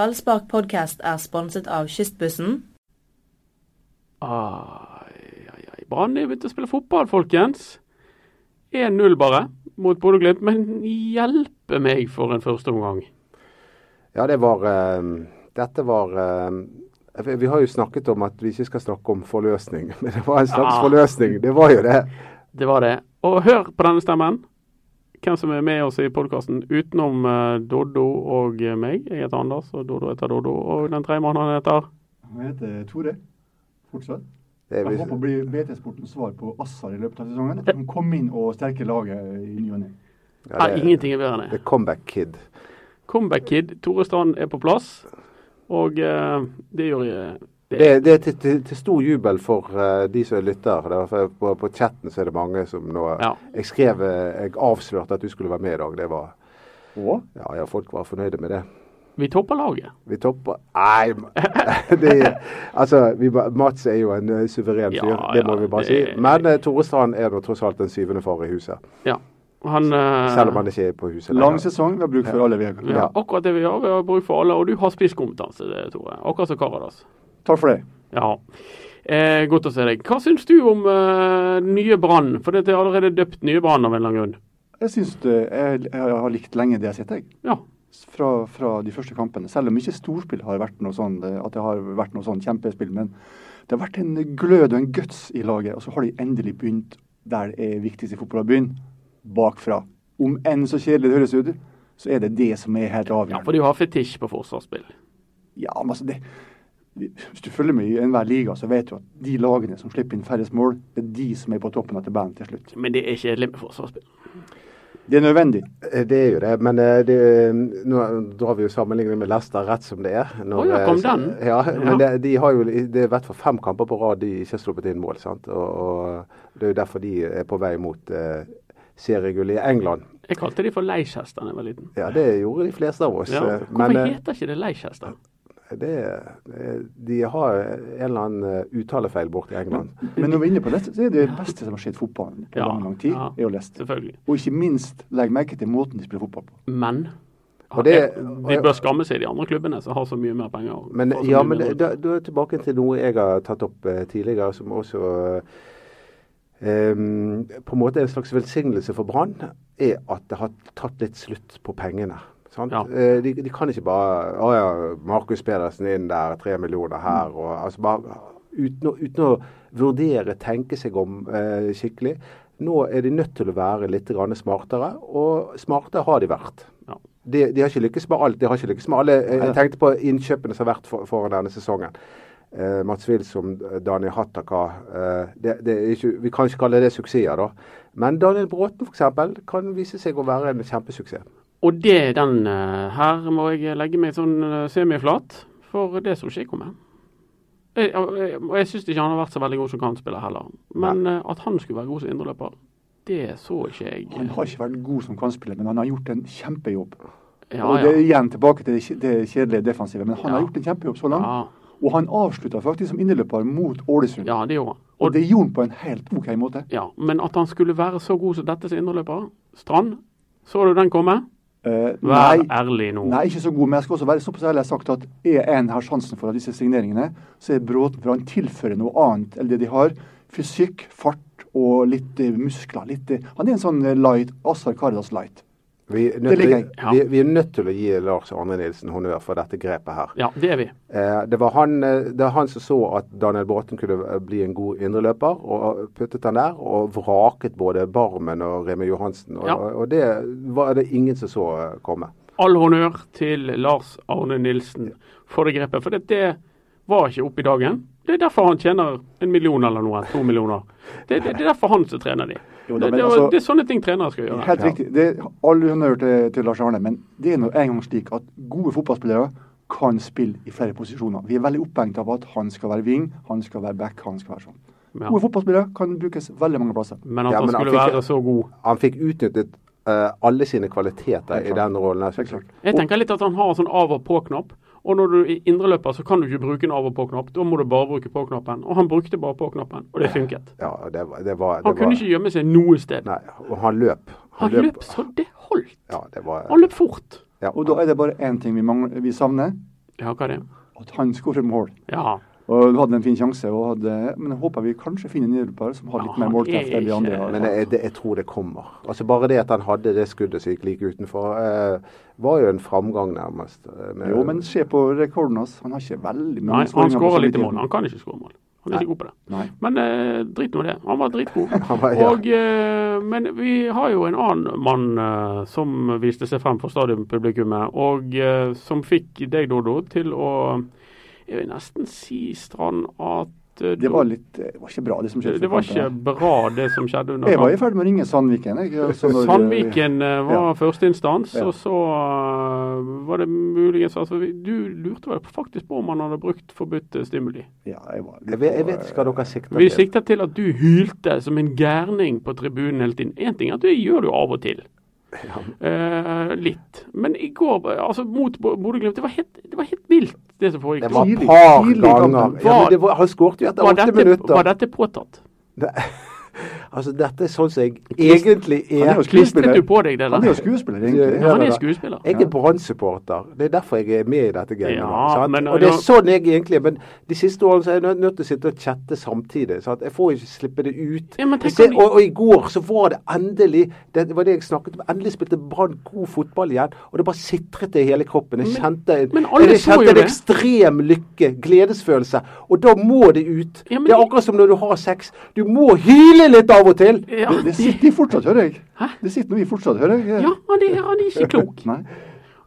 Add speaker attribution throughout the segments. Speaker 1: Ballspark podkast er sponset av Kystbussen.
Speaker 2: Ai, ai, ai. Brann er begynt å spille fotball, folkens. 1-0 bare mot Bodø-Glimt. Men hjelpe meg for en første omgang.
Speaker 3: Ja, det var eh, Dette var eh, vi- Vi har jo snakket om at vi ikke skal snakke om forløsning, men det var en slags
Speaker 2: Ah.
Speaker 3: forløsning. Det var jo det.
Speaker 2: Det var det. Og hør på denne stemmen. Hvem som er med oss i podkasten utenom eh, Doddo og eh, meg. Jeg heter Anders, og Doddo heter Doddo. Og den tredje mannen han heter
Speaker 4: Jeg heter Tore. Fortsatt.
Speaker 3: det
Speaker 4: Jeg håper
Speaker 3: vi,
Speaker 4: å bli BT-sportens svar på Assar i løpet av sesongen. At de kom inn og sterker laget i ny og ne.
Speaker 3: ja,
Speaker 2: er
Speaker 3: det,
Speaker 2: ingenting er bedre enn
Speaker 3: det
Speaker 2: det.
Speaker 3: er comeback kid.
Speaker 2: Comeback Kid Tore Strand er på plass, og eh, det gjør jeg.
Speaker 3: Det, det er til, til, til stor jubel for eh, de som er lytter. Det er, for på, på chatten så er det mange som nå
Speaker 2: Ja.
Speaker 3: Jeg skrev eh, Jeg avslørte at du skulle være med i dag. Det var
Speaker 4: Og
Speaker 3: Ja, ja, folk var fornøyde med det.
Speaker 2: Vi topper laget.
Speaker 3: Vi topper Nei! Det, altså, vi, ba- Mats er jo en eh, suveren
Speaker 2: Ja,
Speaker 3: fyr, det må
Speaker 2: ja,
Speaker 3: vi bare
Speaker 2: det-
Speaker 3: si. Men eh, Tore Strand er nå tross alt den syvende far i huset.
Speaker 2: Ja. Han eh,
Speaker 3: Selv om han ikke er på huset
Speaker 4: lang
Speaker 3: lenger.
Speaker 4: sesong. Vi har bruk for alle, vi har.
Speaker 2: ja.
Speaker 3: ja.
Speaker 2: Akkurat det vi gjør. Vi har bruk for alle, og du har spisskompetanse, det, Tore. Akkurat som Karadas.
Speaker 4: Takk for det.
Speaker 2: Ja. Eh, godt å se deg. Hva syns du om eh, nye Brann? For det er allerede døpt nye Brann av en eller annen grunn.
Speaker 4: Jeg syns det, jeg, jeg har likt lenge det jeg har sett, jeg.
Speaker 2: Ja.
Speaker 4: Fra, fra de første kampene. Selv om ikke storspill har vært noe sånn, eh, at det har vært noe sånn kjempespill. Men det har vært en glød og en guts i laget. Og så har de endelig begynt der det er viktigst i fotball å begynne. Bakfra. Om enn så kjedelig det høres ut, så er det det som er helt avgjørende.
Speaker 2: ja, for de har fetisj på forsvarsspill.
Speaker 4: Ja, men altså det, Hvis du følger med i enhver liga, så vet du at de lagene som slipper inn færrest mål, det er de som er på toppen av tabellen til slutt.
Speaker 2: Men det er kjedelig med forsvarsspill.
Speaker 4: Det er nødvendig.
Speaker 3: Eh, Det er jo det, men eh, det, nå drar vi jo sammenligning med Leicester rett som det er. Når,
Speaker 2: Å ja, kom
Speaker 3: eh, så-
Speaker 2: den.
Speaker 3: Ja, men
Speaker 2: Ja.
Speaker 3: det, de har jo, det er i hvert fall fem kamper på rad de ikke har sluppet inn mål. sant? Og, og Det er jo derfor de er på vei mot eh, seriegull i England.
Speaker 2: Jeg kalte de for Leicester da jeg var liten.
Speaker 3: Ja, det gjorde de fleste av oss.
Speaker 2: Ja.
Speaker 3: eh,
Speaker 2: Hvorfor
Speaker 3: eh,
Speaker 2: heter ikke det Leicester?
Speaker 3: det, de har en eller annen uttalefeil borte i England.
Speaker 4: Men når vi er inne på Leicester, så er det beste som har skjedd fotballen på
Speaker 2: Ja,
Speaker 4: lang, lang tid,
Speaker 2: ja.
Speaker 4: er jo Leicester.
Speaker 2: Selvfølgelig.
Speaker 4: Og ikke minst, legg merke til måten de spiller fotball på.
Speaker 2: Men
Speaker 3: Og det-
Speaker 2: Eh, de bør skamme seg, de andre klubbene som har så mye mer penger. og
Speaker 3: Men,
Speaker 2: har så
Speaker 3: ja,
Speaker 2: mye
Speaker 3: men
Speaker 2: mer-
Speaker 3: da, da er jeg tilbake til noe jeg har tatt opp eh, tidligere, som også eh, em, på en måte er en slags velsignelse for Brann, er at det har tatt litt slutt på pengene. Sant?
Speaker 2: Ja.
Speaker 3: Eh, de, de kan ikke bare Å ja, Markus Pedersen inn der, tre millioner her og altså bare, uten, å, uten å vurdere, tenke seg om eh, skikkelig. Nå er de nødt til å være litt grann smartere, og smarte har de vært.
Speaker 2: Ja.
Speaker 3: De, de har ikke lykkes med alt. De har ikke lykkes med alle. eh, Jeg jeg tenkte på innkjøpene som har vært for, foran denne sesongen. Eh, Mats Wilsom, Daniel Hattaka eh, det, det er ikke, Vi kan ikke kalle det suksesser, da. Men Daniel Bråten f.eks. kan vise seg å være en kjempesuksess.
Speaker 2: Og det den eh, Her må jeg legge meg sånn eh, semiflat for det som skjer kommer. Jeg, og jeg, og jeg syns ikke han har vært så veldig god som kantspiller heller. Men eh, at han skulle være god som indreløper, det så ikke jeg.
Speaker 4: Han har ikke vært god som kantspiller, men han har gjort en kjempejobb.
Speaker 2: Ja,
Speaker 4: Og det er
Speaker 2: ja.
Speaker 4: igjen tilbake til det kje- det kjedelige defensive, men han
Speaker 2: Ja.
Speaker 4: har gjort en kjempejobb så langt.
Speaker 2: Ja,
Speaker 4: Og han avslutta faktisk som inneløper mot Ålesund.
Speaker 2: ja, det gjorde han.
Speaker 4: Og
Speaker 2: Og,
Speaker 4: det gjorde han på en helt OK måte.
Speaker 2: ja, men at han skulle være så god som dette som indreløper Strand, så du den komme?
Speaker 4: Eh,
Speaker 2: Vær
Speaker 4: nei,
Speaker 2: ærlig nå.
Speaker 4: Nei, ikke så god, men jeg skal også være såpass ærlig og sagt at er en har sjansen for disse signeringene, så er Bråten for han tilfører noe annet enn det de har. Fysikk, fart og litt eh, muskler. Litt, eh, han er en sånn eh, light, Asar Karadas light.
Speaker 3: Vi er,
Speaker 4: Det
Speaker 3: nødt
Speaker 4: liker
Speaker 3: til,
Speaker 4: jeg.
Speaker 2: Ja.
Speaker 3: vi, vi er nødt til å gi Lars Arne Nilsen honnør for dette grepet her.
Speaker 2: Ja, det er vi.
Speaker 3: Eh, det var han, eh, det er han som så at Daniel Bråten kunne eh, bli en god indreløper, og puttet han der. Og vraket både Barmen og Remi Johansen. Og,
Speaker 2: Ja.
Speaker 3: og det var det ingen som så eh, komme.
Speaker 2: All honnør til Lars Arne Nilsen for det grepet. For det, det var ikke oppe i dagen. Det er derfor han tjener en million eller noe. To millioner. Det, det, det er derfor han som trener de.
Speaker 4: Jo da,
Speaker 2: det,
Speaker 4: men
Speaker 2: det, var-
Speaker 4: altså-
Speaker 2: det er sånne ting trenere skal gjøre.
Speaker 4: Helt riktig. Det er all honnør til, til Lars Arne, men det er nå engang slik at gode fotballspillere kan spille i flere posisjoner. Vi er veldig opphengt av at han skal være wing, han skal være back, han skal være sånn.
Speaker 2: Ja.
Speaker 4: Gode fotballspillere kan brukes veldig mange plasser.
Speaker 2: Men at
Speaker 3: Ja,
Speaker 2: han
Speaker 3: men han
Speaker 2: skulle
Speaker 3: fikk-
Speaker 2: være så god
Speaker 3: Han fikk utnyttet eh, alle sine kvaliteter
Speaker 4: Helt
Speaker 3: i
Speaker 4: klart.
Speaker 3: den rollen.
Speaker 4: Helt klart.
Speaker 2: Jeg tenker litt at han har en sånn av og på-knapp. Og når du er indreløper, så kan du ikke bruke en av og på-knapp. Da må du bare bruke på-knappen. Og han brukte bare på-knappen, og det funket.
Speaker 3: Ja, det var, det var, det
Speaker 2: Han kunne
Speaker 3: var
Speaker 2: ikke gjemme seg noe sted.
Speaker 3: Nei, og han løp.
Speaker 2: Han løp så det holdt.
Speaker 3: Ja, det var
Speaker 2: Han løp fort.
Speaker 3: ja,
Speaker 4: Og da er det bare én ting vi, mangler, vi savner.
Speaker 2: Ja, hva er det?
Speaker 4: at han skårer mål.
Speaker 2: Ja.
Speaker 4: Og Du hadde en fin sjanse, og hadde, men jeg håper vi kanskje finner en hjelper som
Speaker 2: Ja,
Speaker 4: har litt mer
Speaker 2: han
Speaker 4: målkraft
Speaker 2: er
Speaker 4: enn de andre.
Speaker 2: ikke-
Speaker 4: har.
Speaker 3: Men jeg, det- jeg tror det kommer. Altså Bare det at han hadde det skuddet som gikk like utenfor, eh, var jo en framgang, nærmest. eh, med-
Speaker 4: Jo, men se på rekorden hans. Han har ikke veldig
Speaker 2: Nei,
Speaker 4: mange
Speaker 2: han
Speaker 4: skåringer på
Speaker 2: skårer
Speaker 4: samme
Speaker 2: lite
Speaker 4: tid.
Speaker 2: mål. Han kan ikke skåre mål. Han er
Speaker 4: Nei.
Speaker 2: ikke god på det.
Speaker 4: Nei.
Speaker 2: Men eh, drit nå i det. Han var dritgod.
Speaker 3: Han var- ja.
Speaker 2: og, eh, men vi har jo en annen mann eh, som viste seg frem for stadionpublikummet, og eh, som fikk deg, Dodo, til å Jeg vil nesten si, Strand, at eh,
Speaker 4: Det var litt Det var ikke bra, det som
Speaker 2: det,
Speaker 4: skjedde.
Speaker 2: det var
Speaker 4: for kampen.
Speaker 2: ikke bra, det som skjedde under
Speaker 4: Jeg var i
Speaker 2: kampen.
Speaker 4: ferd med å ringe Sandviken. Jeg, altså, når-
Speaker 2: Sandviken eh, var
Speaker 4: Ja.
Speaker 2: første instans,
Speaker 4: Ja.
Speaker 2: og så eh, var det muligens altså, vi- Du lurte vel faktisk på om han hadde brukt forbudt eh, stimuli?
Speaker 4: Ja, jeg, var litt
Speaker 3: Jeg vet, jeg
Speaker 4: på,
Speaker 3: vet ikke hva dere sikter
Speaker 2: Vi
Speaker 3: til.
Speaker 2: sikter til at du hylte som en gærning på tribunen hele tiden. Én ting er at det gjør du av og til. Eh, litt. Men i går, eh, altså mot Bo- Bodø-Glimt, det, var helt- det var helt vilt det som foregikk.
Speaker 3: Det var
Speaker 4: Tidlig-
Speaker 3: et par
Speaker 4: tidlig i
Speaker 3: ganger.
Speaker 4: kampen.
Speaker 3: Ja, men det var, han skåret jo etter
Speaker 2: var,
Speaker 3: åtte
Speaker 2: dette,
Speaker 3: minutter.
Speaker 2: var dette påtatt?
Speaker 3: Det- altså, dette er sånn som jeg egentlig
Speaker 4: Han er
Speaker 3: er
Speaker 4: jo skuespiller.
Speaker 2: Klistret du på deg det,
Speaker 4: Han er
Speaker 2: eller?
Speaker 4: jo skuespiller,
Speaker 2: Ja,
Speaker 4: egentlig.
Speaker 2: han er skuespiller.
Speaker 3: Jeg er Brann-supporter. Det er derfor jeg er med i dette gamet.
Speaker 2: Ja,
Speaker 3: sant?
Speaker 2: men-
Speaker 3: og det er sånn jeg egentlig er. Men de siste årene så er jeg nødt- nødt til å sitte og chatte samtidig. Sant? Jeg får ikke slippe det ut.
Speaker 2: Ja, men
Speaker 3: Jeg
Speaker 2: tenk
Speaker 3: ser,
Speaker 2: om de-
Speaker 3: og, og i går så var det endelig Det var det jeg snakket om. Endelig spilte Brann god fotball igjen. Og det bare sitret i hele kroppen. Jeg
Speaker 2: Men-
Speaker 3: kjente en,
Speaker 2: men alle
Speaker 3: jeg
Speaker 2: så jo
Speaker 3: kjente en
Speaker 2: det.
Speaker 3: ekstrem lykke, gledesfølelse. Og da må det ut.
Speaker 2: Ja, men
Speaker 3: det er
Speaker 2: de-
Speaker 3: akkurat som når du har sex. Du må hyle litt av og til.
Speaker 2: Ja,
Speaker 4: Det, det sitter de fortsatt, hører jeg. Det sitter nå i fortsatt, hører jeg.
Speaker 2: ja han, er, han er ikke klok.
Speaker 4: Nei.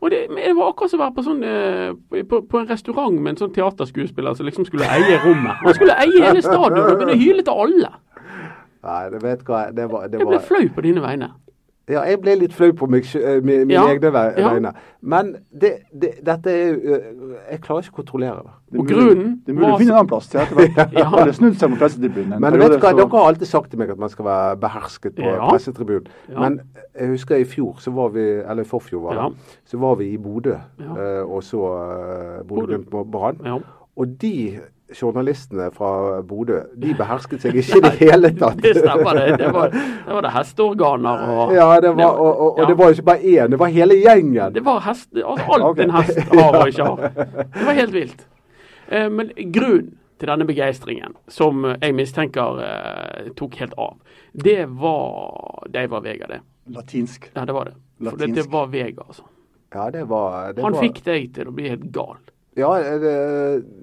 Speaker 2: Og det, men det var akkurat som å være på, sånn, eh, på, på en restaurant med en sånn teaterskuespiller som liksom skulle eie rommet. Han skulle eie hele stadionet og begynne å hyle til alle.
Speaker 3: Nei, du vet hva. Det var, det
Speaker 2: Jeg ble
Speaker 3: var
Speaker 2: flau på dine vegne.
Speaker 3: Ja, jeg ble litt flau på meg, sjø- eh, mi- mine
Speaker 2: Ja,
Speaker 3: egne vei-
Speaker 2: ja.
Speaker 3: vegne. Men det, det, dette er eh, Jeg klarer ikke å kontrollere det.
Speaker 4: Det er
Speaker 2: Og
Speaker 4: mulig-
Speaker 2: grunnen
Speaker 4: Det er mulig
Speaker 2: var-
Speaker 4: å finne en annen plass til etter hvert.
Speaker 2: Ja.
Speaker 4: Har det snudd seg mot pressetribunen? en
Speaker 3: Men vet
Speaker 4: periode,
Speaker 3: du hva,
Speaker 4: så-
Speaker 3: Dere har alltid sagt til meg at man skal være behersket på
Speaker 2: Ja.
Speaker 3: pressetribunen.
Speaker 2: Ja.
Speaker 3: Men eh, jeg husker i fjor, så var vi, eller i forfjor var det,
Speaker 2: Ja.
Speaker 3: så var vi i Bodø
Speaker 2: Ja.
Speaker 3: eh, og så eh, Bodø-Glimt på Brann.
Speaker 2: Ja.
Speaker 3: Og de journalistene fra Bodø, de behersket seg ikke i det hele tatt.
Speaker 2: Det stemmer, det. Det var det, var det hesteorganer og
Speaker 3: Ja, det var, og, og, og
Speaker 2: ja.
Speaker 3: det var jo ikke bare én, det var hele gjengen.
Speaker 2: Det var hest, altså alt
Speaker 4: Ok.
Speaker 2: en hest har og ikke har. Det var helt vilt. Eh, men grunnen til denne begeistringen, som eh, jeg mistenker eh, tok helt av, det var Det var Vega, det.
Speaker 4: Latinsk.
Speaker 2: Ja, det var det. For det, det
Speaker 4: Latinsk.
Speaker 2: var Vega, altså.
Speaker 3: Ja, det var, det
Speaker 2: Han
Speaker 3: var,
Speaker 2: fikk deg til å bli helt gal.
Speaker 3: Ja, det,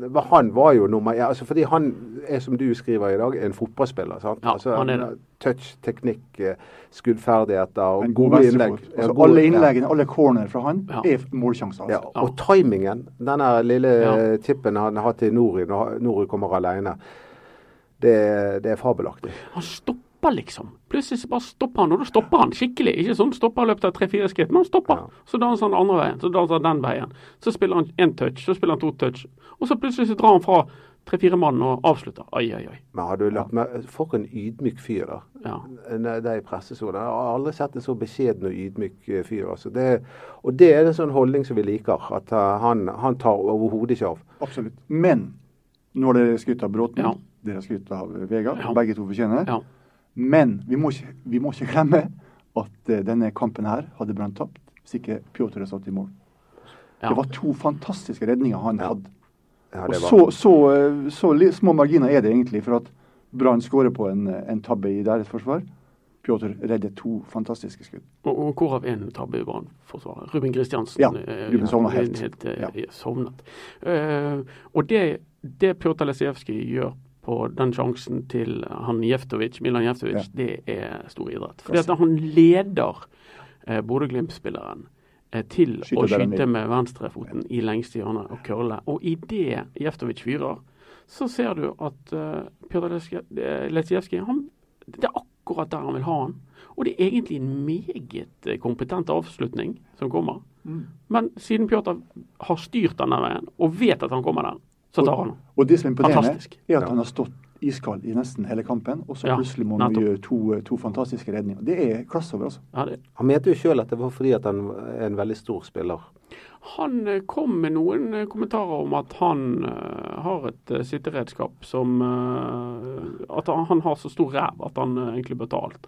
Speaker 3: men han var jo nummer ja, altså Fordi han er, som du skriver i dag, en fotballspiller. sant?
Speaker 2: Ja,
Speaker 3: altså,
Speaker 2: han er det.
Speaker 3: Touch, teknikk, eh, skuddferdigheter og
Speaker 4: En
Speaker 3: gode innlegg.
Speaker 4: venstrefot.
Speaker 3: Ja,
Speaker 4: Altså,
Speaker 3: gode-
Speaker 4: alle innleggene, alle corner fra han,
Speaker 2: Ja.
Speaker 4: er målsjanser.
Speaker 3: Ja,
Speaker 4: Altså.
Speaker 3: og timingen. Den der lille
Speaker 2: Ja.
Speaker 3: eh, tippen han har til Nori når Nori kommer alene. Det, det er fabelaktig.
Speaker 2: Han stopper liksom. Plutselig så bare stopper han, og da stopper han skikkelig. Ikke sånn stopper i løpet av tre-fire skritt, men han stopper. Så danser han andre veien, så danser han den veien. Så spiller han én touch, så spiller han to touch. Og så plutselig så drar han fra tre-fire mann og avslutter. Oi, oi, oi.
Speaker 3: Men har du lagt med, For en ydmyk fyr, da.
Speaker 2: Ja.
Speaker 3: Nei, Det er i pressesonen. Jeg har aldri sett en så beskjeden og ydmyk eh, fyr. Altså. Det, og det er en sånn holdning som vi liker. At eh, han, han tar overhodet ikke av.
Speaker 4: Absolutt. Men nå har dere skutt av Bråten,
Speaker 2: Ja.
Speaker 4: dere har skutt av Vega,
Speaker 2: Ja.
Speaker 4: begge to fortjener det.
Speaker 2: Ja.
Speaker 4: Men vi må, ikke, vi må ikke glemme at eh, denne kampen her hadde Brann tapt hvis ikke Pjotr hadde stått i mål.
Speaker 2: Ja.
Speaker 4: Det var to fantastiske redninger han hadde.
Speaker 3: Ja,
Speaker 4: Og
Speaker 3: det var-
Speaker 4: så, så, eh, så li- små marginer er det egentlig for at Brann skårer på en, eh, en tabbe i deres forsvar. Pjotr redder to fantastiske skudd.
Speaker 2: Og, og hvorav én tabbe i Brann-forsvaret. Ruben Kristiansen
Speaker 4: Ja,
Speaker 2: eh,
Speaker 4: Ruben sovna helt.
Speaker 2: eh,
Speaker 4: Ja.
Speaker 2: sovnet. Eh, og det, det Pjotr Lesijevskij gjør på den sjansen til han Jeftovic, Milan Jeftovic, det er stor idrett. Fordi at han leder eh, Bodø-Glimt-spilleren eh, til
Speaker 4: Skyter
Speaker 2: å
Speaker 4: der han
Speaker 2: skyte
Speaker 4: vil.
Speaker 2: med venstrefoten i lengste hjørne og curle. Og idet Jeftovic fyrer, så ser du at eh, Pjotr Lesijevskij han- Det er akkurat der han vil ha han. Og det er egentlig en meget eh, kompetent avslutning som kommer. Men siden Pjotr har styrt denne veien, og vet at han kommer der, så tar han den.
Speaker 4: Og det som er imponerende,
Speaker 2: Fantastisk.
Speaker 4: er at han har stått iskald i nesten hele kampen, og så
Speaker 2: Ja,
Speaker 4: plutselig må han
Speaker 2: nettopp.
Speaker 4: gjøre to, eh, to fantastiske redninger. Det er klasse over, altså.
Speaker 2: Ja, det-
Speaker 3: Han mente jo sjøl at det var fordi at han er en veldig stor spiller.
Speaker 2: Han eh, kom med noen eh, kommentarer om at han eh, har et eh, sitteredskap som eh, At han, han har så stor ræv at han eh, egentlig bør ta alt.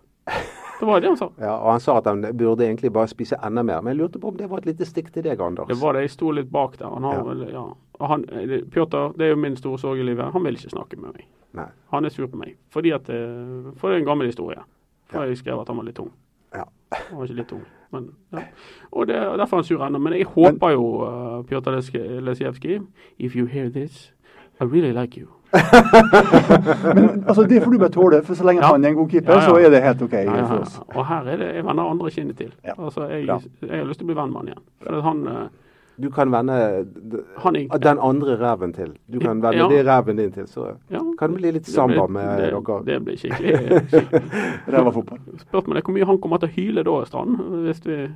Speaker 2: Det var det han sa.
Speaker 3: Ja, og han sa at han burde egentlig bare spise enda mer. Men jeg lurte på om det var et lite stikk til deg, Anders.
Speaker 2: Det var det. Jeg sto litt bak der. Han har
Speaker 3: Ja.
Speaker 2: vel, ja. Og Han, eh, Pjotr, det er jo min store sorg i livet. Han vil ikke snakke med meg.
Speaker 3: Nei.
Speaker 2: Han er sur på meg. Fordi at, eh, for det er en gammel historie. For jeg skrev at han var litt tung.
Speaker 3: Ja.
Speaker 2: Han var ikke litt tung. Men, ja. Og det, og derfor er han sur ennå. Men jeg håper jo, uh, Pjotr Leske- Lesijevskij, if you hear this, I really like you.
Speaker 4: Men altså, det får du bare tåle, for så lenge
Speaker 2: Ja.
Speaker 4: han er en god keeper,
Speaker 2: Ja, ja.
Speaker 4: så er det helt OK
Speaker 2: Ja, ja,
Speaker 4: for
Speaker 2: ja.
Speaker 4: oss.
Speaker 2: Og her er det, jeg vender andre kinnet til.
Speaker 4: Ja.
Speaker 2: Altså, jeg,
Speaker 3: Bra.
Speaker 2: jeg har lyst til å bli venn med han igjen. For at han, eh,
Speaker 3: Du kan vende d-
Speaker 2: han er,
Speaker 3: den andre reven til. Du kan vende
Speaker 2: Ja.
Speaker 3: det reven din til, så
Speaker 2: ja,
Speaker 3: kan det bli litt
Speaker 2: det blir-
Speaker 3: samba med
Speaker 2: det,
Speaker 3: dere.
Speaker 2: Det blir skikkelig, skikkelig.
Speaker 4: Ræva fotball.
Speaker 2: Spørsmålet er hvor mye han kommer til å hyle da, Strand. Hvis vi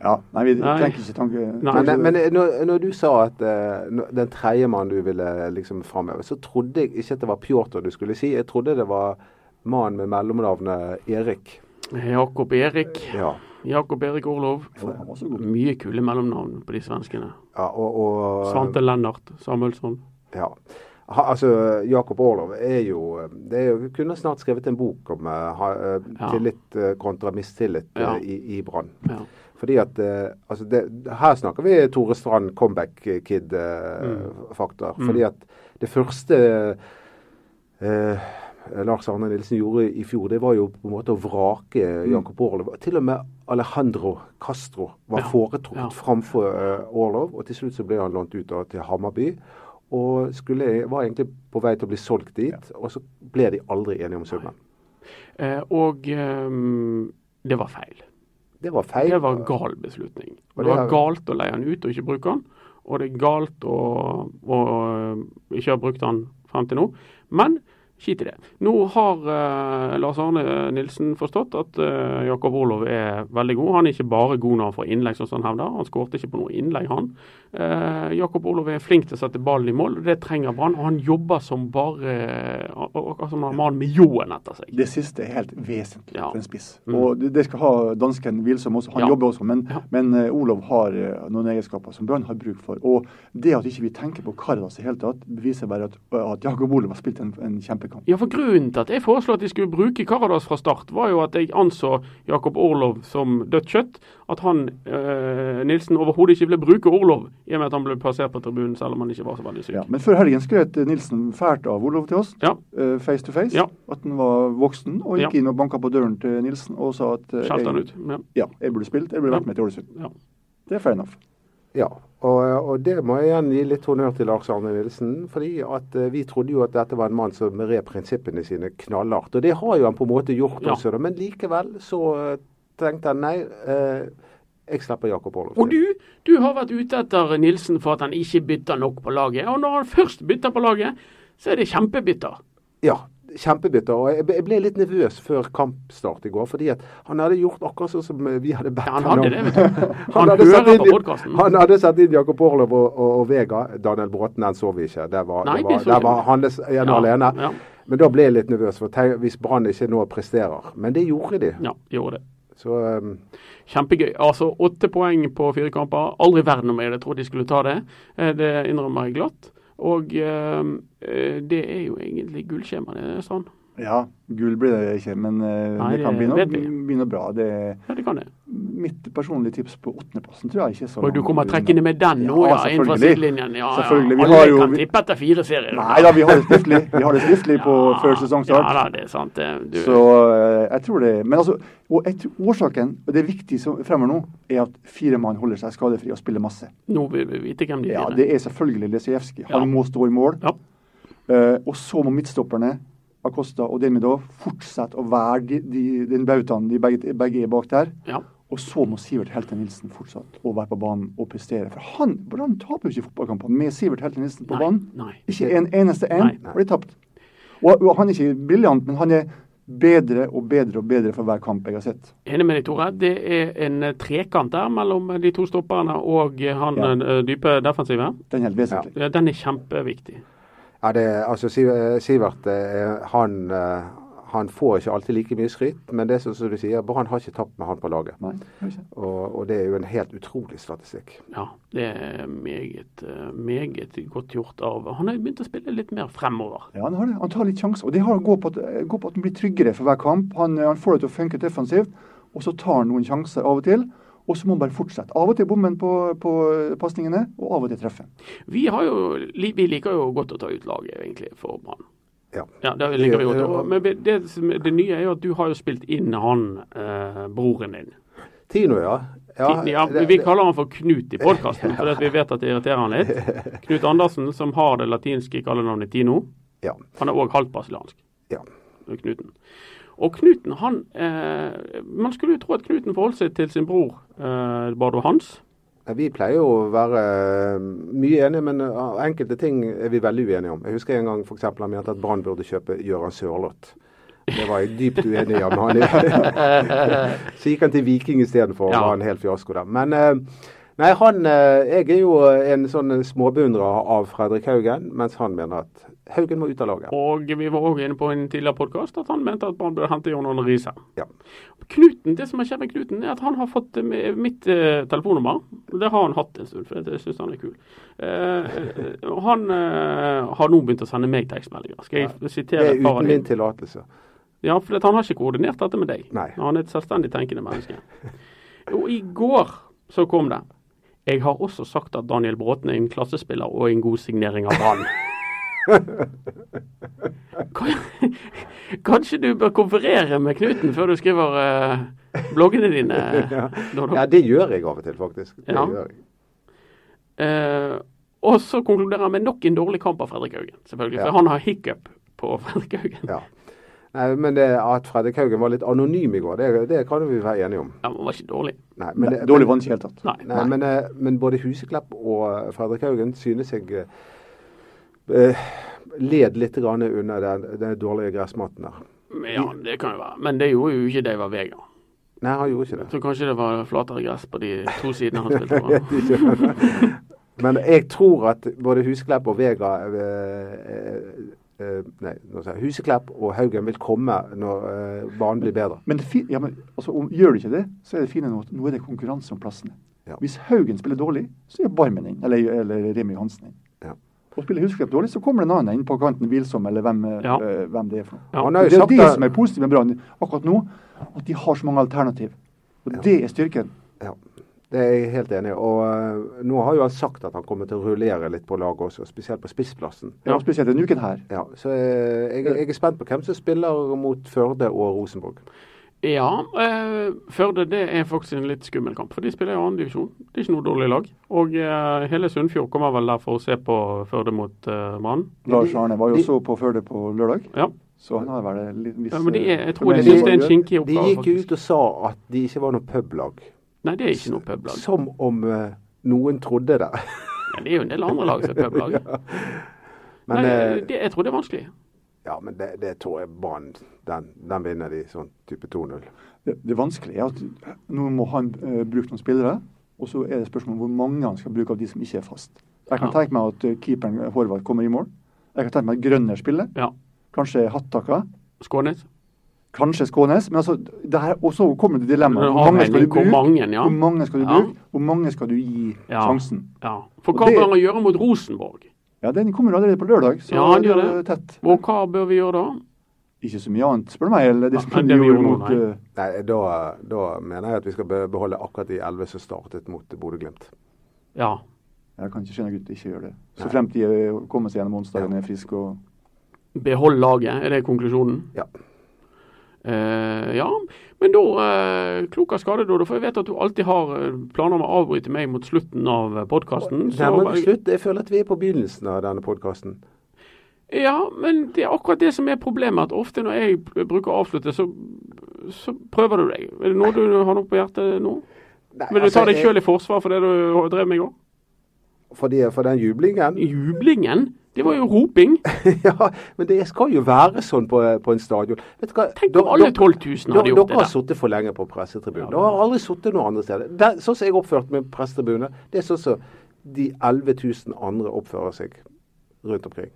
Speaker 4: Ja. Nei, vi
Speaker 2: Nei.
Speaker 4: tenker ikke tanke...
Speaker 2: Nei.
Speaker 3: Men, men når, når du sa at eh, når- den tredje mannen du ville liksom framheve, så trodde jeg ikke at det var Pjotr du skulle si. Jeg trodde det var mannen med mellomnavnet Erik.
Speaker 2: Jakob Erik.
Speaker 3: Ja,
Speaker 2: Jakob Erik Orlov.
Speaker 4: Jo, han var så god.
Speaker 2: Mye kule mellomnavn på de svenskene.
Speaker 3: ja og, og
Speaker 2: Svante Lennart Samuelsson.
Speaker 3: Ja. Ha, altså, Jakob Orlov er jo eh, det er jo, Vi kunne snart skrevet en bok om eh, ha, eh,
Speaker 2: Ja.
Speaker 3: tillit eh, kontra mistillit eh,
Speaker 2: Ja.
Speaker 3: i, i Brann.
Speaker 2: Ja.
Speaker 3: Fordi at eh, altså det, Her snakker vi Tore Strand
Speaker 2: Mm.
Speaker 3: comeback-kid-fakta.
Speaker 2: Mm.
Speaker 3: Fordi at det første eh, Lars Arne Nilsen gjorde i fjor, det var jo på en måte å vrake
Speaker 2: Mm.
Speaker 3: Jakob Orlov. Til og med Alejandro Castro var
Speaker 2: Ja.
Speaker 3: foretrukket
Speaker 2: Ja.
Speaker 3: framfor eh, Orlov. Og til slutt så ble han lånt ut da til Hammarby. Og skulle, var egentlig på vei til å bli solgt dit, og så ble de aldri enige om summen.
Speaker 2: Eh, og ehm, det var feil.
Speaker 3: Det var feil.
Speaker 2: Det var en gal beslutning.
Speaker 3: Og
Speaker 2: Det
Speaker 3: det
Speaker 2: var
Speaker 3: er-
Speaker 2: galt å leie han ut og ikke bruke han. Og det er galt å, å eh, ikke ha brukt han frem til nå. Men skit i det. Nå har eh, Lars Arne Nilsen forstått at eh, Jakob Orlov er veldig god. Han er ikke bare god når han får innlegg, som han hevder. Han skårte ikke på noe innlegg, han. Eh, Jakob Orlov er flink til å sette ballen i mål. og Det trenger Brann. Og han jobber som bare eh, Akkurat som en mann med ljåen etter seg.
Speaker 4: Det siste er helt vesentlig
Speaker 2: Ja.
Speaker 4: for en spiss.
Speaker 2: Mm.
Speaker 4: Og det, det skal ha dansken Wilsom også. Han
Speaker 2: Ja.
Speaker 4: jobber også, men,
Speaker 2: Ja.
Speaker 4: men eh, Olav har eh, noen egenskaper som Brann har bruk for. Og det at ikke vi tenker på Karas i hele tatt, beviser bare at, at Jakob Olav har spilt en, en kjempekamp.
Speaker 2: Ja, for Grunnen til at jeg foreslo at de skulle bruke Karadas fra start, var jo at jeg anså Jakob Orlov som dødt kjøtt. At han, eh, Nilsen, overhodet ikke ville bruke Orlov, i og med at han ble plassert på tribunen selv om han ikke var så veldig syk.
Speaker 4: Ja. Men før helgen skrøt eh, Nilsen fælt av Olav til oss,
Speaker 2: Ja.
Speaker 4: eh, face to face,
Speaker 2: Ja.
Speaker 4: at han var voksen, og gikk
Speaker 2: Ja.
Speaker 4: inn og banka på døren til Nilsen og sa at eh,
Speaker 2: Skjelte han
Speaker 4: jeg,
Speaker 2: ut. Ja.
Speaker 4: ja, jeg burde spilt, jeg burde vært med til Ålesund.
Speaker 2: Ja.
Speaker 4: Det er fair enough.
Speaker 3: Ja, og, og det må jeg igjen gi litt honnør til Lars Arne Nilsen. fordi at eh, vi trodde jo at dette var en mann som red prinsippene sine knallhardt. Og det har jo han på en måte gjort
Speaker 2: Ja.
Speaker 3: også, da. men likevel så eh, tenkte han nei, eh, jeg slipper Jakob Orlov.
Speaker 2: Og du, du har vært ute etter Nilsen for at han ikke bytter nok på laget. Og når han først bytter på laget, så er det kjempebytter.
Speaker 3: Ja, kjempebytter. Og jeg ble- jeg ble litt nervøs før kampstart i går, fordi at han hadde gjort akkurat sånn som vi hadde bedt
Speaker 2: Ja, han hadde
Speaker 3: om.
Speaker 2: det, vet du.
Speaker 3: Han
Speaker 2: Han
Speaker 3: hadde satt
Speaker 2: hører
Speaker 3: inn
Speaker 2: på
Speaker 3: i-
Speaker 2: podkasten.
Speaker 3: Han hadde satt inn Jakob Orlov og, og, og Vega. Daniel Bråten, den så vi ikke. Der var,
Speaker 2: Nei,
Speaker 3: der
Speaker 2: det
Speaker 3: var,
Speaker 2: så
Speaker 3: der
Speaker 2: vi
Speaker 3: var
Speaker 2: ikke.
Speaker 3: han ene
Speaker 2: Ja,
Speaker 3: alene.
Speaker 2: ja.
Speaker 3: Men da ble jeg litt nervøs, for tenk, hvis Brann ikke nå presterer. Men det gjorde de.
Speaker 2: Ja, gjorde det.
Speaker 3: Så um,
Speaker 2: Kjempegøy. Altså åtte poeng på fire kamper. Aldri i verden om jeg hadde trodd de skulle ta det. Eh, Det innrømmer jeg glatt. Og eh, eh, det er jo egentlig gullskjemaene, sånn.
Speaker 4: Ja, gull blir det ikke, men eh,
Speaker 2: Nei,
Speaker 4: det kan
Speaker 2: det
Speaker 4: bli noe,
Speaker 2: vet vi.
Speaker 4: bli noe bra. Det er
Speaker 2: Ja, det kan det.
Speaker 4: mitt personlige tips på åttendeplassen, tror jeg ikke er så
Speaker 2: Og du
Speaker 4: langt
Speaker 2: kommer
Speaker 4: unna.
Speaker 2: trekkende med den nå,
Speaker 4: Ja,
Speaker 2: ja? Innenfor
Speaker 4: selvfølgelig.
Speaker 2: sidelinjen? Ja, ja.
Speaker 4: Selvfølgelig. Vi har
Speaker 2: Alle
Speaker 4: jo-
Speaker 2: kan tippe etter fire serier.
Speaker 4: Nei da, vi har det skriftlig, vi har det skriftlig på før sesongstart.
Speaker 2: Ja da, det er sant. det. Du,
Speaker 4: Så eh, jeg tror det Men altså, og jeg tror årsaken, og det viktige som fremover nå, er at fire mann holder seg skadefri og spiller masse.
Speaker 2: nå vil vi vite hvem de
Speaker 4: Ja,
Speaker 2: er.
Speaker 4: Det er selvfølgelig Lesijevskij. Han
Speaker 2: Ja.
Speaker 4: må stå i mål.
Speaker 2: Ja.
Speaker 4: Eh, og så må midtstopperne, Acosta og Demidov, fortsette å være de, de, den bautaen de begge, begge er bak der.
Speaker 2: Ja.
Speaker 4: Og så må Sivert Helte Nilsen fortsatt å være på banen og prestere. For han, han taper jo ikke fotballkamper med Sivert Helte Nilsen på
Speaker 2: Nei,
Speaker 4: banen.
Speaker 2: nei.
Speaker 4: Ikke en eneste en
Speaker 2: Nei.
Speaker 4: blir tapt. Og, og han er ikke briljant, men han er bedre og bedre og bedre for hver kamp jeg har sett.
Speaker 2: Enig med deg, Tore. Det er en eh, trekant der mellom de to stopperne og eh, han eh, dype defensive.
Speaker 4: Den er helt vesentlig.
Speaker 2: Eh, Den er kjempeviktig.
Speaker 3: ja, det, altså, Siv- eh, Sivert eh, han, eh, Han får ikke alltid like mye skryt, men det er sånn som du sier, Brann har ikke tapt med han på laget.
Speaker 4: Nei, det er ikke.
Speaker 3: Og, og det er jo en helt utrolig statistikk.
Speaker 2: Ja, det er meget, eh, meget godt gjort av Han har begynt å spille litt mer fremover.
Speaker 4: Ja, han har det. Han tar litt sjanser. Og det har å gå på at, gå på at han blir tryggere for hver kamp. Han, eh, han får det til å funke defensivt, og så tar han noen sjanser av og til. Og så må han bare fortsette. Av og til bommer han på, på pasningene, og av og til treffer han.
Speaker 2: Vi, har jo, li- vi liker jo godt å ta ut laget, egentlig, for Brann.
Speaker 3: Ja.
Speaker 2: Ja, det liker vi godt. Og- Men det, som er- det nye er jo at du har jo spilt inn han eh, broren din.
Speaker 3: Tino, ja.
Speaker 2: Ti- Ja,
Speaker 3: det-
Speaker 2: vi
Speaker 3: det-
Speaker 2: kaller han for Knut i podkasten, fordi at vi vet at det irriterer han litt. Knut Andersen, som har det latinske kallenavnet Tino.
Speaker 3: ja,
Speaker 2: Han er òg halvt brasiliansk.
Speaker 3: ja.
Speaker 2: Knuten. Og Knuten, han eh, Man skulle jo tro at Knuten forholdt seg til sin bror eh, Bardo Hans.
Speaker 3: Nei, Vi pleier jo å være eh, mye enige, men eh, enkelte ting er vi veldig uenige om. Jeg husker en gang f.eks. han mente at Brann burde kjøpe Gøran Sørloth. Det var jeg dypt uenig i. men han- Så gikk han til Viking istedenfor.
Speaker 2: Ja.
Speaker 3: Ja. Var en hel fiasko der. Men eh, nei, han eh, Jeg er jo en sånn småbeundrer av Fredrik Haugen, mens han mener at Haugen må ut av laget.
Speaker 2: Og vi var òg inne på en tidligere podkast at han mente at Brann burde hente John Arne Riise.
Speaker 3: Ja.
Speaker 2: Knuten, det som har skjedd med Knuten, er at han har fått eh, mi- mitt eh, telefonnummer. Det har han hatt en stund, for jeg syns han er kul. Eh, eh, han eh, har nå begynt å sende meg tekstmeldinger. Skal jeg
Speaker 3: Det
Speaker 2: sitere
Speaker 3: er
Speaker 2: et par
Speaker 3: uten
Speaker 2: av
Speaker 3: min
Speaker 2: dem?
Speaker 3: tillatelse.
Speaker 2: Ja, for at han har ikke koordinert dette med deg.
Speaker 3: Nei.
Speaker 2: Han er et selvstendig tenkende menneske. Jo, i går så kom det. Jeg har også sagt at Daniel Bråten er en klassespiller og en god signering av Brann. Kan- Kanskje du bør konferere med Knuten før du skriver eh, bloggene dine. Dodo?
Speaker 3: Ja, det gjør jeg av og til, faktisk. Det
Speaker 2: Ja.
Speaker 3: gjør jeg.
Speaker 2: Eh, og så konkluderer han med nok en dårlig kamp av Fredrik Haugen, selvfølgelig. For
Speaker 3: Ja.
Speaker 2: han har hiccup på Fredrik Haugen.
Speaker 3: Ja. Nei, men det, at Fredrik Haugen var litt anonym i går, det, det kan vi være enige om.
Speaker 2: Ja, men han var ikke dårlig.
Speaker 3: Nei,
Speaker 4: Men,
Speaker 3: men, det,
Speaker 4: Dårlig vann i det hele tatt.
Speaker 2: Nei.
Speaker 3: nei, men, eh, men både Huseklepp og eh, Fredrik Haugen synes jeg eh, led litt grann under den, den dårlige gressmatten der.
Speaker 2: Men Ja, det kan jo være. Men det gjorde jo ikke Deiva Vega.
Speaker 3: Nei, han gjorde ikke det.
Speaker 2: Så kanskje det var flatere gress på de to sidene han spilte på.
Speaker 3: Men jeg tror at både Huseklepp og Vega eh, eh, eh, Nei, nå sier jeg Huseklepp og Haugen vil komme når eh, banen blir bedre.
Speaker 4: Men, det fi- ja, men altså, om, gjør det ikke det, så er det fine nå at nå er det konkurranse om plassene.
Speaker 3: Ja.
Speaker 4: Hvis Haugen spiller dårlig, så er Barmen inn, eller, eller Remi Johansen inn.
Speaker 3: Ja.
Speaker 4: Og spiller Husklepp dårlig, så kommer det en annen inn på kanten, Wilsom eller hvem, eh,
Speaker 2: Ja.
Speaker 4: eh, hvem det er for noe.
Speaker 2: Ja.
Speaker 3: Han
Speaker 4: Det
Speaker 3: har
Speaker 4: er
Speaker 3: jo
Speaker 4: jo
Speaker 3: sagt
Speaker 4: det
Speaker 3: at-
Speaker 4: som er positivt med Brann akkurat nå, at de har så mange alternativ. Og det er styrken.
Speaker 3: Ja, det er jeg helt enig i. Og eh, nå har jo han sagt at han kommer til å rullere litt på laget også, spesielt på spissplassen.
Speaker 2: Ja.
Speaker 4: Ja. Spesielt denne uken her.
Speaker 3: Ja, så eh, jeg, jeg er spent på hvem som spiller mot Førde og Rosenborg.
Speaker 2: Ja, eh, Førde det er faktisk en litt skummel kamp. For de spiller i annen divisjon. Det er ikke noe dårlig lag. Og eh, hele Sunnfjord kommer vel der for å se på Førde mot eh, Brann.
Speaker 4: Lars Arne var jo
Speaker 3: de-
Speaker 4: også på Førde på lørdag,
Speaker 2: Ja.
Speaker 4: så han har vel en liten viss
Speaker 2: ja, men de er, jeg tror de
Speaker 3: Men
Speaker 4: eh,
Speaker 3: de-
Speaker 2: syns det er en skinkig
Speaker 3: De
Speaker 2: oppgave,
Speaker 3: gikk jo
Speaker 2: faktisk.
Speaker 3: ut og sa at de ikke var noe publag.
Speaker 2: Nei, det er ikke noe publag.
Speaker 3: Som om eh, noen trodde det.
Speaker 2: Men det er jo en del andre lag som er publag.
Speaker 3: Men,
Speaker 2: Nei,
Speaker 3: eh,
Speaker 2: det, jeg tror det er vanskelig.
Speaker 3: ja, men det, det tror jeg Brann den, den vinner de sånn type 2-0.
Speaker 4: Det, det vanskelige er at nå må han eh, bruke noen spillere, og så er det spørsmål om hvor mange han skal bruke av de som ikke er fast. Jeg kan
Speaker 2: Ja.
Speaker 4: tenke meg at eh, keeperen eh, Horvath kommer i mål. Jeg kan tenke meg at Grønner spiller.
Speaker 2: Ja.
Speaker 4: Kanskje Hattaka.
Speaker 2: Skånes.
Speaker 4: Kanskje Skånes. Men altså, det her, og så kommer det dilemmaet. Hvor mange skal du
Speaker 2: Hvor
Speaker 4: bruke?
Speaker 2: mange, ja.
Speaker 4: Hvor mange skal du
Speaker 2: Ja.
Speaker 4: bruke? Hvor mange skal du gi
Speaker 2: Ja.
Speaker 4: sjansen?
Speaker 2: ja. For
Speaker 4: Og
Speaker 2: hva
Speaker 4: det-
Speaker 2: bør han gjøre mot Rosenborg?
Speaker 4: Ja, Den kommer allerede på lørdag, så
Speaker 2: Ja, han
Speaker 4: det
Speaker 2: gjør
Speaker 4: er tett.
Speaker 2: Og hva bør vi gjøre da?
Speaker 4: Ikke så mye annet, spør du meg. Eller det
Speaker 2: Ja,
Speaker 4: som
Speaker 2: det
Speaker 4: du
Speaker 2: vi
Speaker 4: gjorde
Speaker 2: gjorde nå,
Speaker 4: mot
Speaker 2: nei.
Speaker 4: eh,
Speaker 3: Nei, da, da mener jeg at vi skal be- beholde akkurat de elleve som startet mot Bodø-Glimt.
Speaker 2: Ja.
Speaker 4: Jeg kan ikke skjønne at de ikke gjør det. Så
Speaker 3: Nei.
Speaker 4: fremt de eh, kommer seg gjennom onsdagen er friske og
Speaker 2: Behold laget, er det konklusjonen?
Speaker 3: Ja.
Speaker 2: Eh, ja, men da eh, Klok av skade, Dodo, for jeg vet at du alltid har eh, planer om å avbryte meg mot slutten av eh, podkasten.
Speaker 3: Nærmere slutt. Jeg føler at vi er på begynnelsen av denne podkasten.
Speaker 2: Ja, men det er akkurat det som er problemet. At ofte når jeg p- bruker å avslutte, så, så prøver du deg. Er det noe du har noe på hjertet nå? Vil du
Speaker 3: Altså,
Speaker 2: ta deg sjøl i forsvar for det du drev med i går?
Speaker 3: For, de, for den jublingen?
Speaker 2: Jublingen? Det var jo roping.
Speaker 3: ja, men det skal jo være sånn på, på en stadion. Vet du hva?
Speaker 2: Tenk
Speaker 3: Dere-
Speaker 2: om alle
Speaker 3: dere-
Speaker 2: 12 000 hadde gjort
Speaker 3: Dere
Speaker 2: det
Speaker 3: har
Speaker 2: der.
Speaker 3: sittet for lenge på pressetribunen.
Speaker 2: Ja,
Speaker 3: Dere har aldri sittet noe andre steder. Det, sånn som jeg oppførte meg på pressetribunen, det er sånn som de 11 000 andre oppfører seg rundt omkring.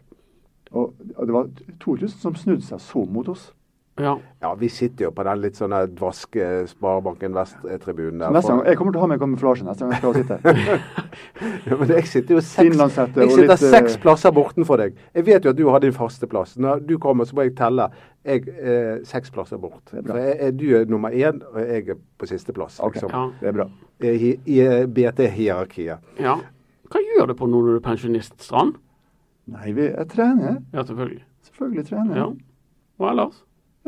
Speaker 4: Og og det var 2000 som snudde seg så mot oss.
Speaker 2: Ja.
Speaker 3: Ja, vi sitter jo på den litt sånn der dvaske Sparebanken Vest-tribunen der.
Speaker 4: Neste gang, jeg kommer til å ha med kamuflasje neste gang jeg skal sitte her.
Speaker 3: Ja, men jeg sitter jo seks,
Speaker 4: Finlandshette
Speaker 3: jeg
Speaker 4: og
Speaker 3: sitter
Speaker 4: litt, eh,
Speaker 3: seks plasser bortenfor deg. Jeg vet jo at du har din faste plass. Når du kommer, så må jeg telle. Jeg er seks plasser bort.
Speaker 4: er bra.
Speaker 3: For jeg, jeg, du er nummer én, og jeg er på siste plass.
Speaker 4: Ok.
Speaker 3: Liksom.
Speaker 2: ja.
Speaker 4: Det er bra.
Speaker 3: I, i eh, BT-hierarkiet.
Speaker 2: ja. Hva gjør du på nå når du er pensjonist, Strand?
Speaker 4: Nei, vi, jeg trener.
Speaker 2: Ja, selvfølgelig.
Speaker 4: Selvfølgelig trener
Speaker 2: Ja.
Speaker 4: jeg.
Speaker 2: Og ellers?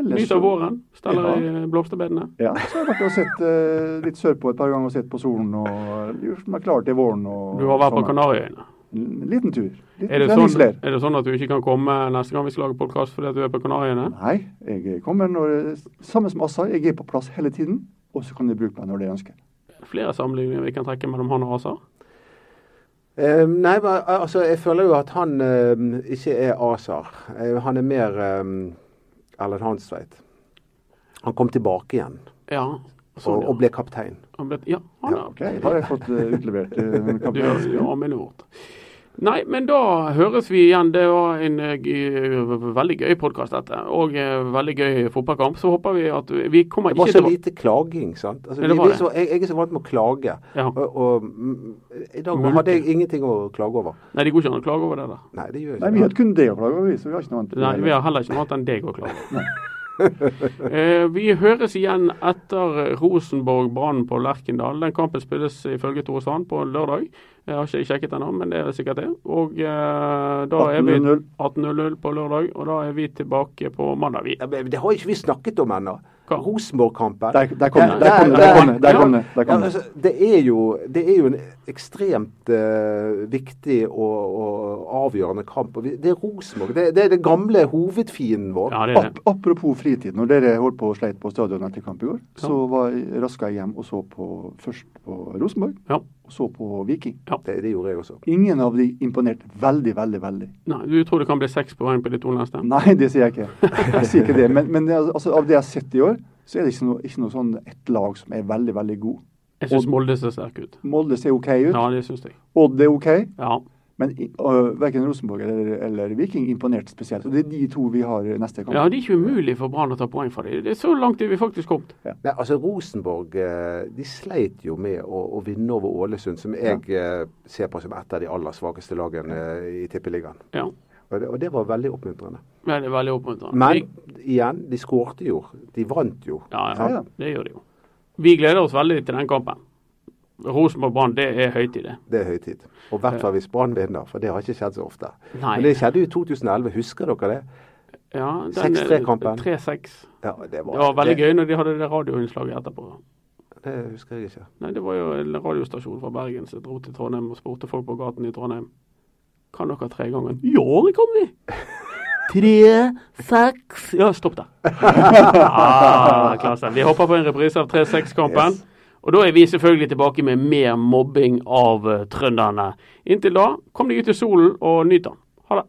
Speaker 4: Ellers
Speaker 2: Nyter
Speaker 4: så-
Speaker 2: våren? Steller
Speaker 4: Ja.
Speaker 2: i eh, blomsterbedene?
Speaker 4: Ja, så har jeg vært og sett eh, litt sørpå et par ganger og sett på solen og gjort meg klar til våren. Og, sånn
Speaker 2: Du har vært på
Speaker 4: sommeren.
Speaker 2: Kanariøyene.
Speaker 4: En liten tur. Liten
Speaker 2: Er det, sånn,
Speaker 4: treningsleir.
Speaker 2: er det sånn at du ikke kan komme neste gang vi skal lage podkast fordi at du er på Kanariøyene?
Speaker 4: Nei, jeg kommer når Sammen som Assa, jeg er på plass hele tiden. Og så kan de bruke meg når de ønsker.
Speaker 2: Flere sammenligninger vi kan trekke mellom han og Azar.
Speaker 3: Eh, nei, men, al- altså, jeg føler jo at han eh, ikke er ASAR. Eh, han er mer eh, Erlend Hansveit. Han kom tilbake igjen
Speaker 2: Ja. Sånn,
Speaker 3: og, og ble kaptein.
Speaker 2: ja. Han ble, ja, han er
Speaker 4: Ok, Da har jeg fått eh, utlevert eh,
Speaker 2: Du
Speaker 4: kampen.
Speaker 2: er armene vårt. Nei, men da høres vi igjen. Det var en eh, g- veldig gøy podkast, dette. Og eh, veldig gøy fotballkamp. Så håper vi at vi kommer
Speaker 3: Det var
Speaker 2: ikke til
Speaker 3: så
Speaker 2: å
Speaker 3: lite klaging, sant.
Speaker 2: Ja,
Speaker 3: Altså, vi,
Speaker 2: det var
Speaker 3: vi
Speaker 2: det.
Speaker 3: så, jeg, jeg er så vant med å klage.
Speaker 2: Ja.
Speaker 3: Og, og mm, i dag
Speaker 2: Multe.
Speaker 3: hadde jeg ingenting å klage over.
Speaker 2: Nei, det går ikke an å klage over det der.
Speaker 3: Nei, det gjør jeg
Speaker 4: Nei, vi har kun det å klage over, vi, så vi har ikke noe annet.
Speaker 2: Nei, vi har heller ikke noe annet enn deg å klage over. Eh, vi høres igjen etter Rosenborg-brannen på Lerkendal. Den kampen spilles ifølge Tore Strand på lørdag. Jeg har ikke sjekket ennå, men det er sikkert det. Og eh, da er vi
Speaker 4: 18.00.
Speaker 2: 18.00 på lørdag, og da er vi tilbake på mandag, vi.
Speaker 3: Ja, men det har ikke vi snakket om ennå.
Speaker 2: Hva?
Speaker 3: Rosenborg-kampen.
Speaker 4: Der, der kom det, der kom det, der kom det, der kom det,
Speaker 3: Ja,
Speaker 4: der kom det.
Speaker 3: altså, det, er jo, det er jo en ekstremt eh, viktig og, og avgjørende kamp. Og vi, det er Rosenborg. Det, det er den gamle hovedfienden vår.
Speaker 2: Ja, det er det.
Speaker 4: Ap apropos fritid. Når dere holdt på og sleit på stadion etter kamp i går, så var, raska jeg hjem og så på først på Rosenborg,
Speaker 2: Ja.
Speaker 4: og så på Viking.
Speaker 3: Det, det gjorde jeg også.
Speaker 4: Ingen av de imponerte veldig, veldig, veldig.
Speaker 2: Nei, du tror det kan bli seks poeng på de to neste?
Speaker 4: Nei, det sier jeg ikke. Jeg sier ikke det. Men, men det, er- altså, av det jeg har sett i år, så er det ikke noe, ikke noe sånn ett lag som er veldig, veldig god.
Speaker 2: Jeg syns Molde ser sterk ut.
Speaker 4: Molde ser OK ut.
Speaker 2: Ja, det syns jeg.
Speaker 4: Odd er OK.
Speaker 2: Ja.
Speaker 4: Men i- øh, verken Rosenborg eller, eller Viking imponerte spesielt. Og det er de to vi har neste kamp.
Speaker 2: ja, det er ikke umulig for Brann å ta poeng fra dem. Det er så langt er vi faktisk kommet.
Speaker 3: Nei, altså Rosenborg eh, de sleit jo med å, å vinne over Ålesund, som jeg eh, ser på som et av de aller svakeste lagene eh, i Tippeligaen.
Speaker 2: Ja.
Speaker 3: Og det, og det var veldig oppmuntrende.
Speaker 2: Men det er veldig oppmuntrende.
Speaker 3: Men igjen, de skårte jo. De vant jo.
Speaker 2: Ja,
Speaker 4: Ja,
Speaker 2: ja,
Speaker 4: ja.
Speaker 2: det gjør det jo. Vi gleder oss veldig til den kampen. Rosenborg-Brann, det er høytid, det.
Speaker 3: Det er høytid. Og i hvert fall hvis Brann vinner, for det har ikke skjedd så ofte.
Speaker 2: Nei.
Speaker 3: Men det skjedde jo i 2011, husker dere det?
Speaker 2: Ja, den-
Speaker 3: 6-3-kampen.
Speaker 2: 3-6.
Speaker 3: Ja, det var,
Speaker 2: Det var veldig
Speaker 3: det,
Speaker 2: gøy når de hadde det radioinnslaget etterpå.
Speaker 3: Det husker jeg ikke.
Speaker 2: Nei, det var jo en radiostasjon fra Bergen som dro til Trondheim og spurte folk på gaten i Trondheim. Kan dere tre ganger? Ja, det kan vi!
Speaker 1: Tre, seks
Speaker 2: Ja, stopp der. Ah, klasse. Vi hopper på en reprise av 3-6-kampen.
Speaker 3: Yes.
Speaker 2: Og da er vi selvfølgelig tilbake med mer mobbing av eh, trønderne. Inntil da, kom deg ut i solen og nyt den. Ha det.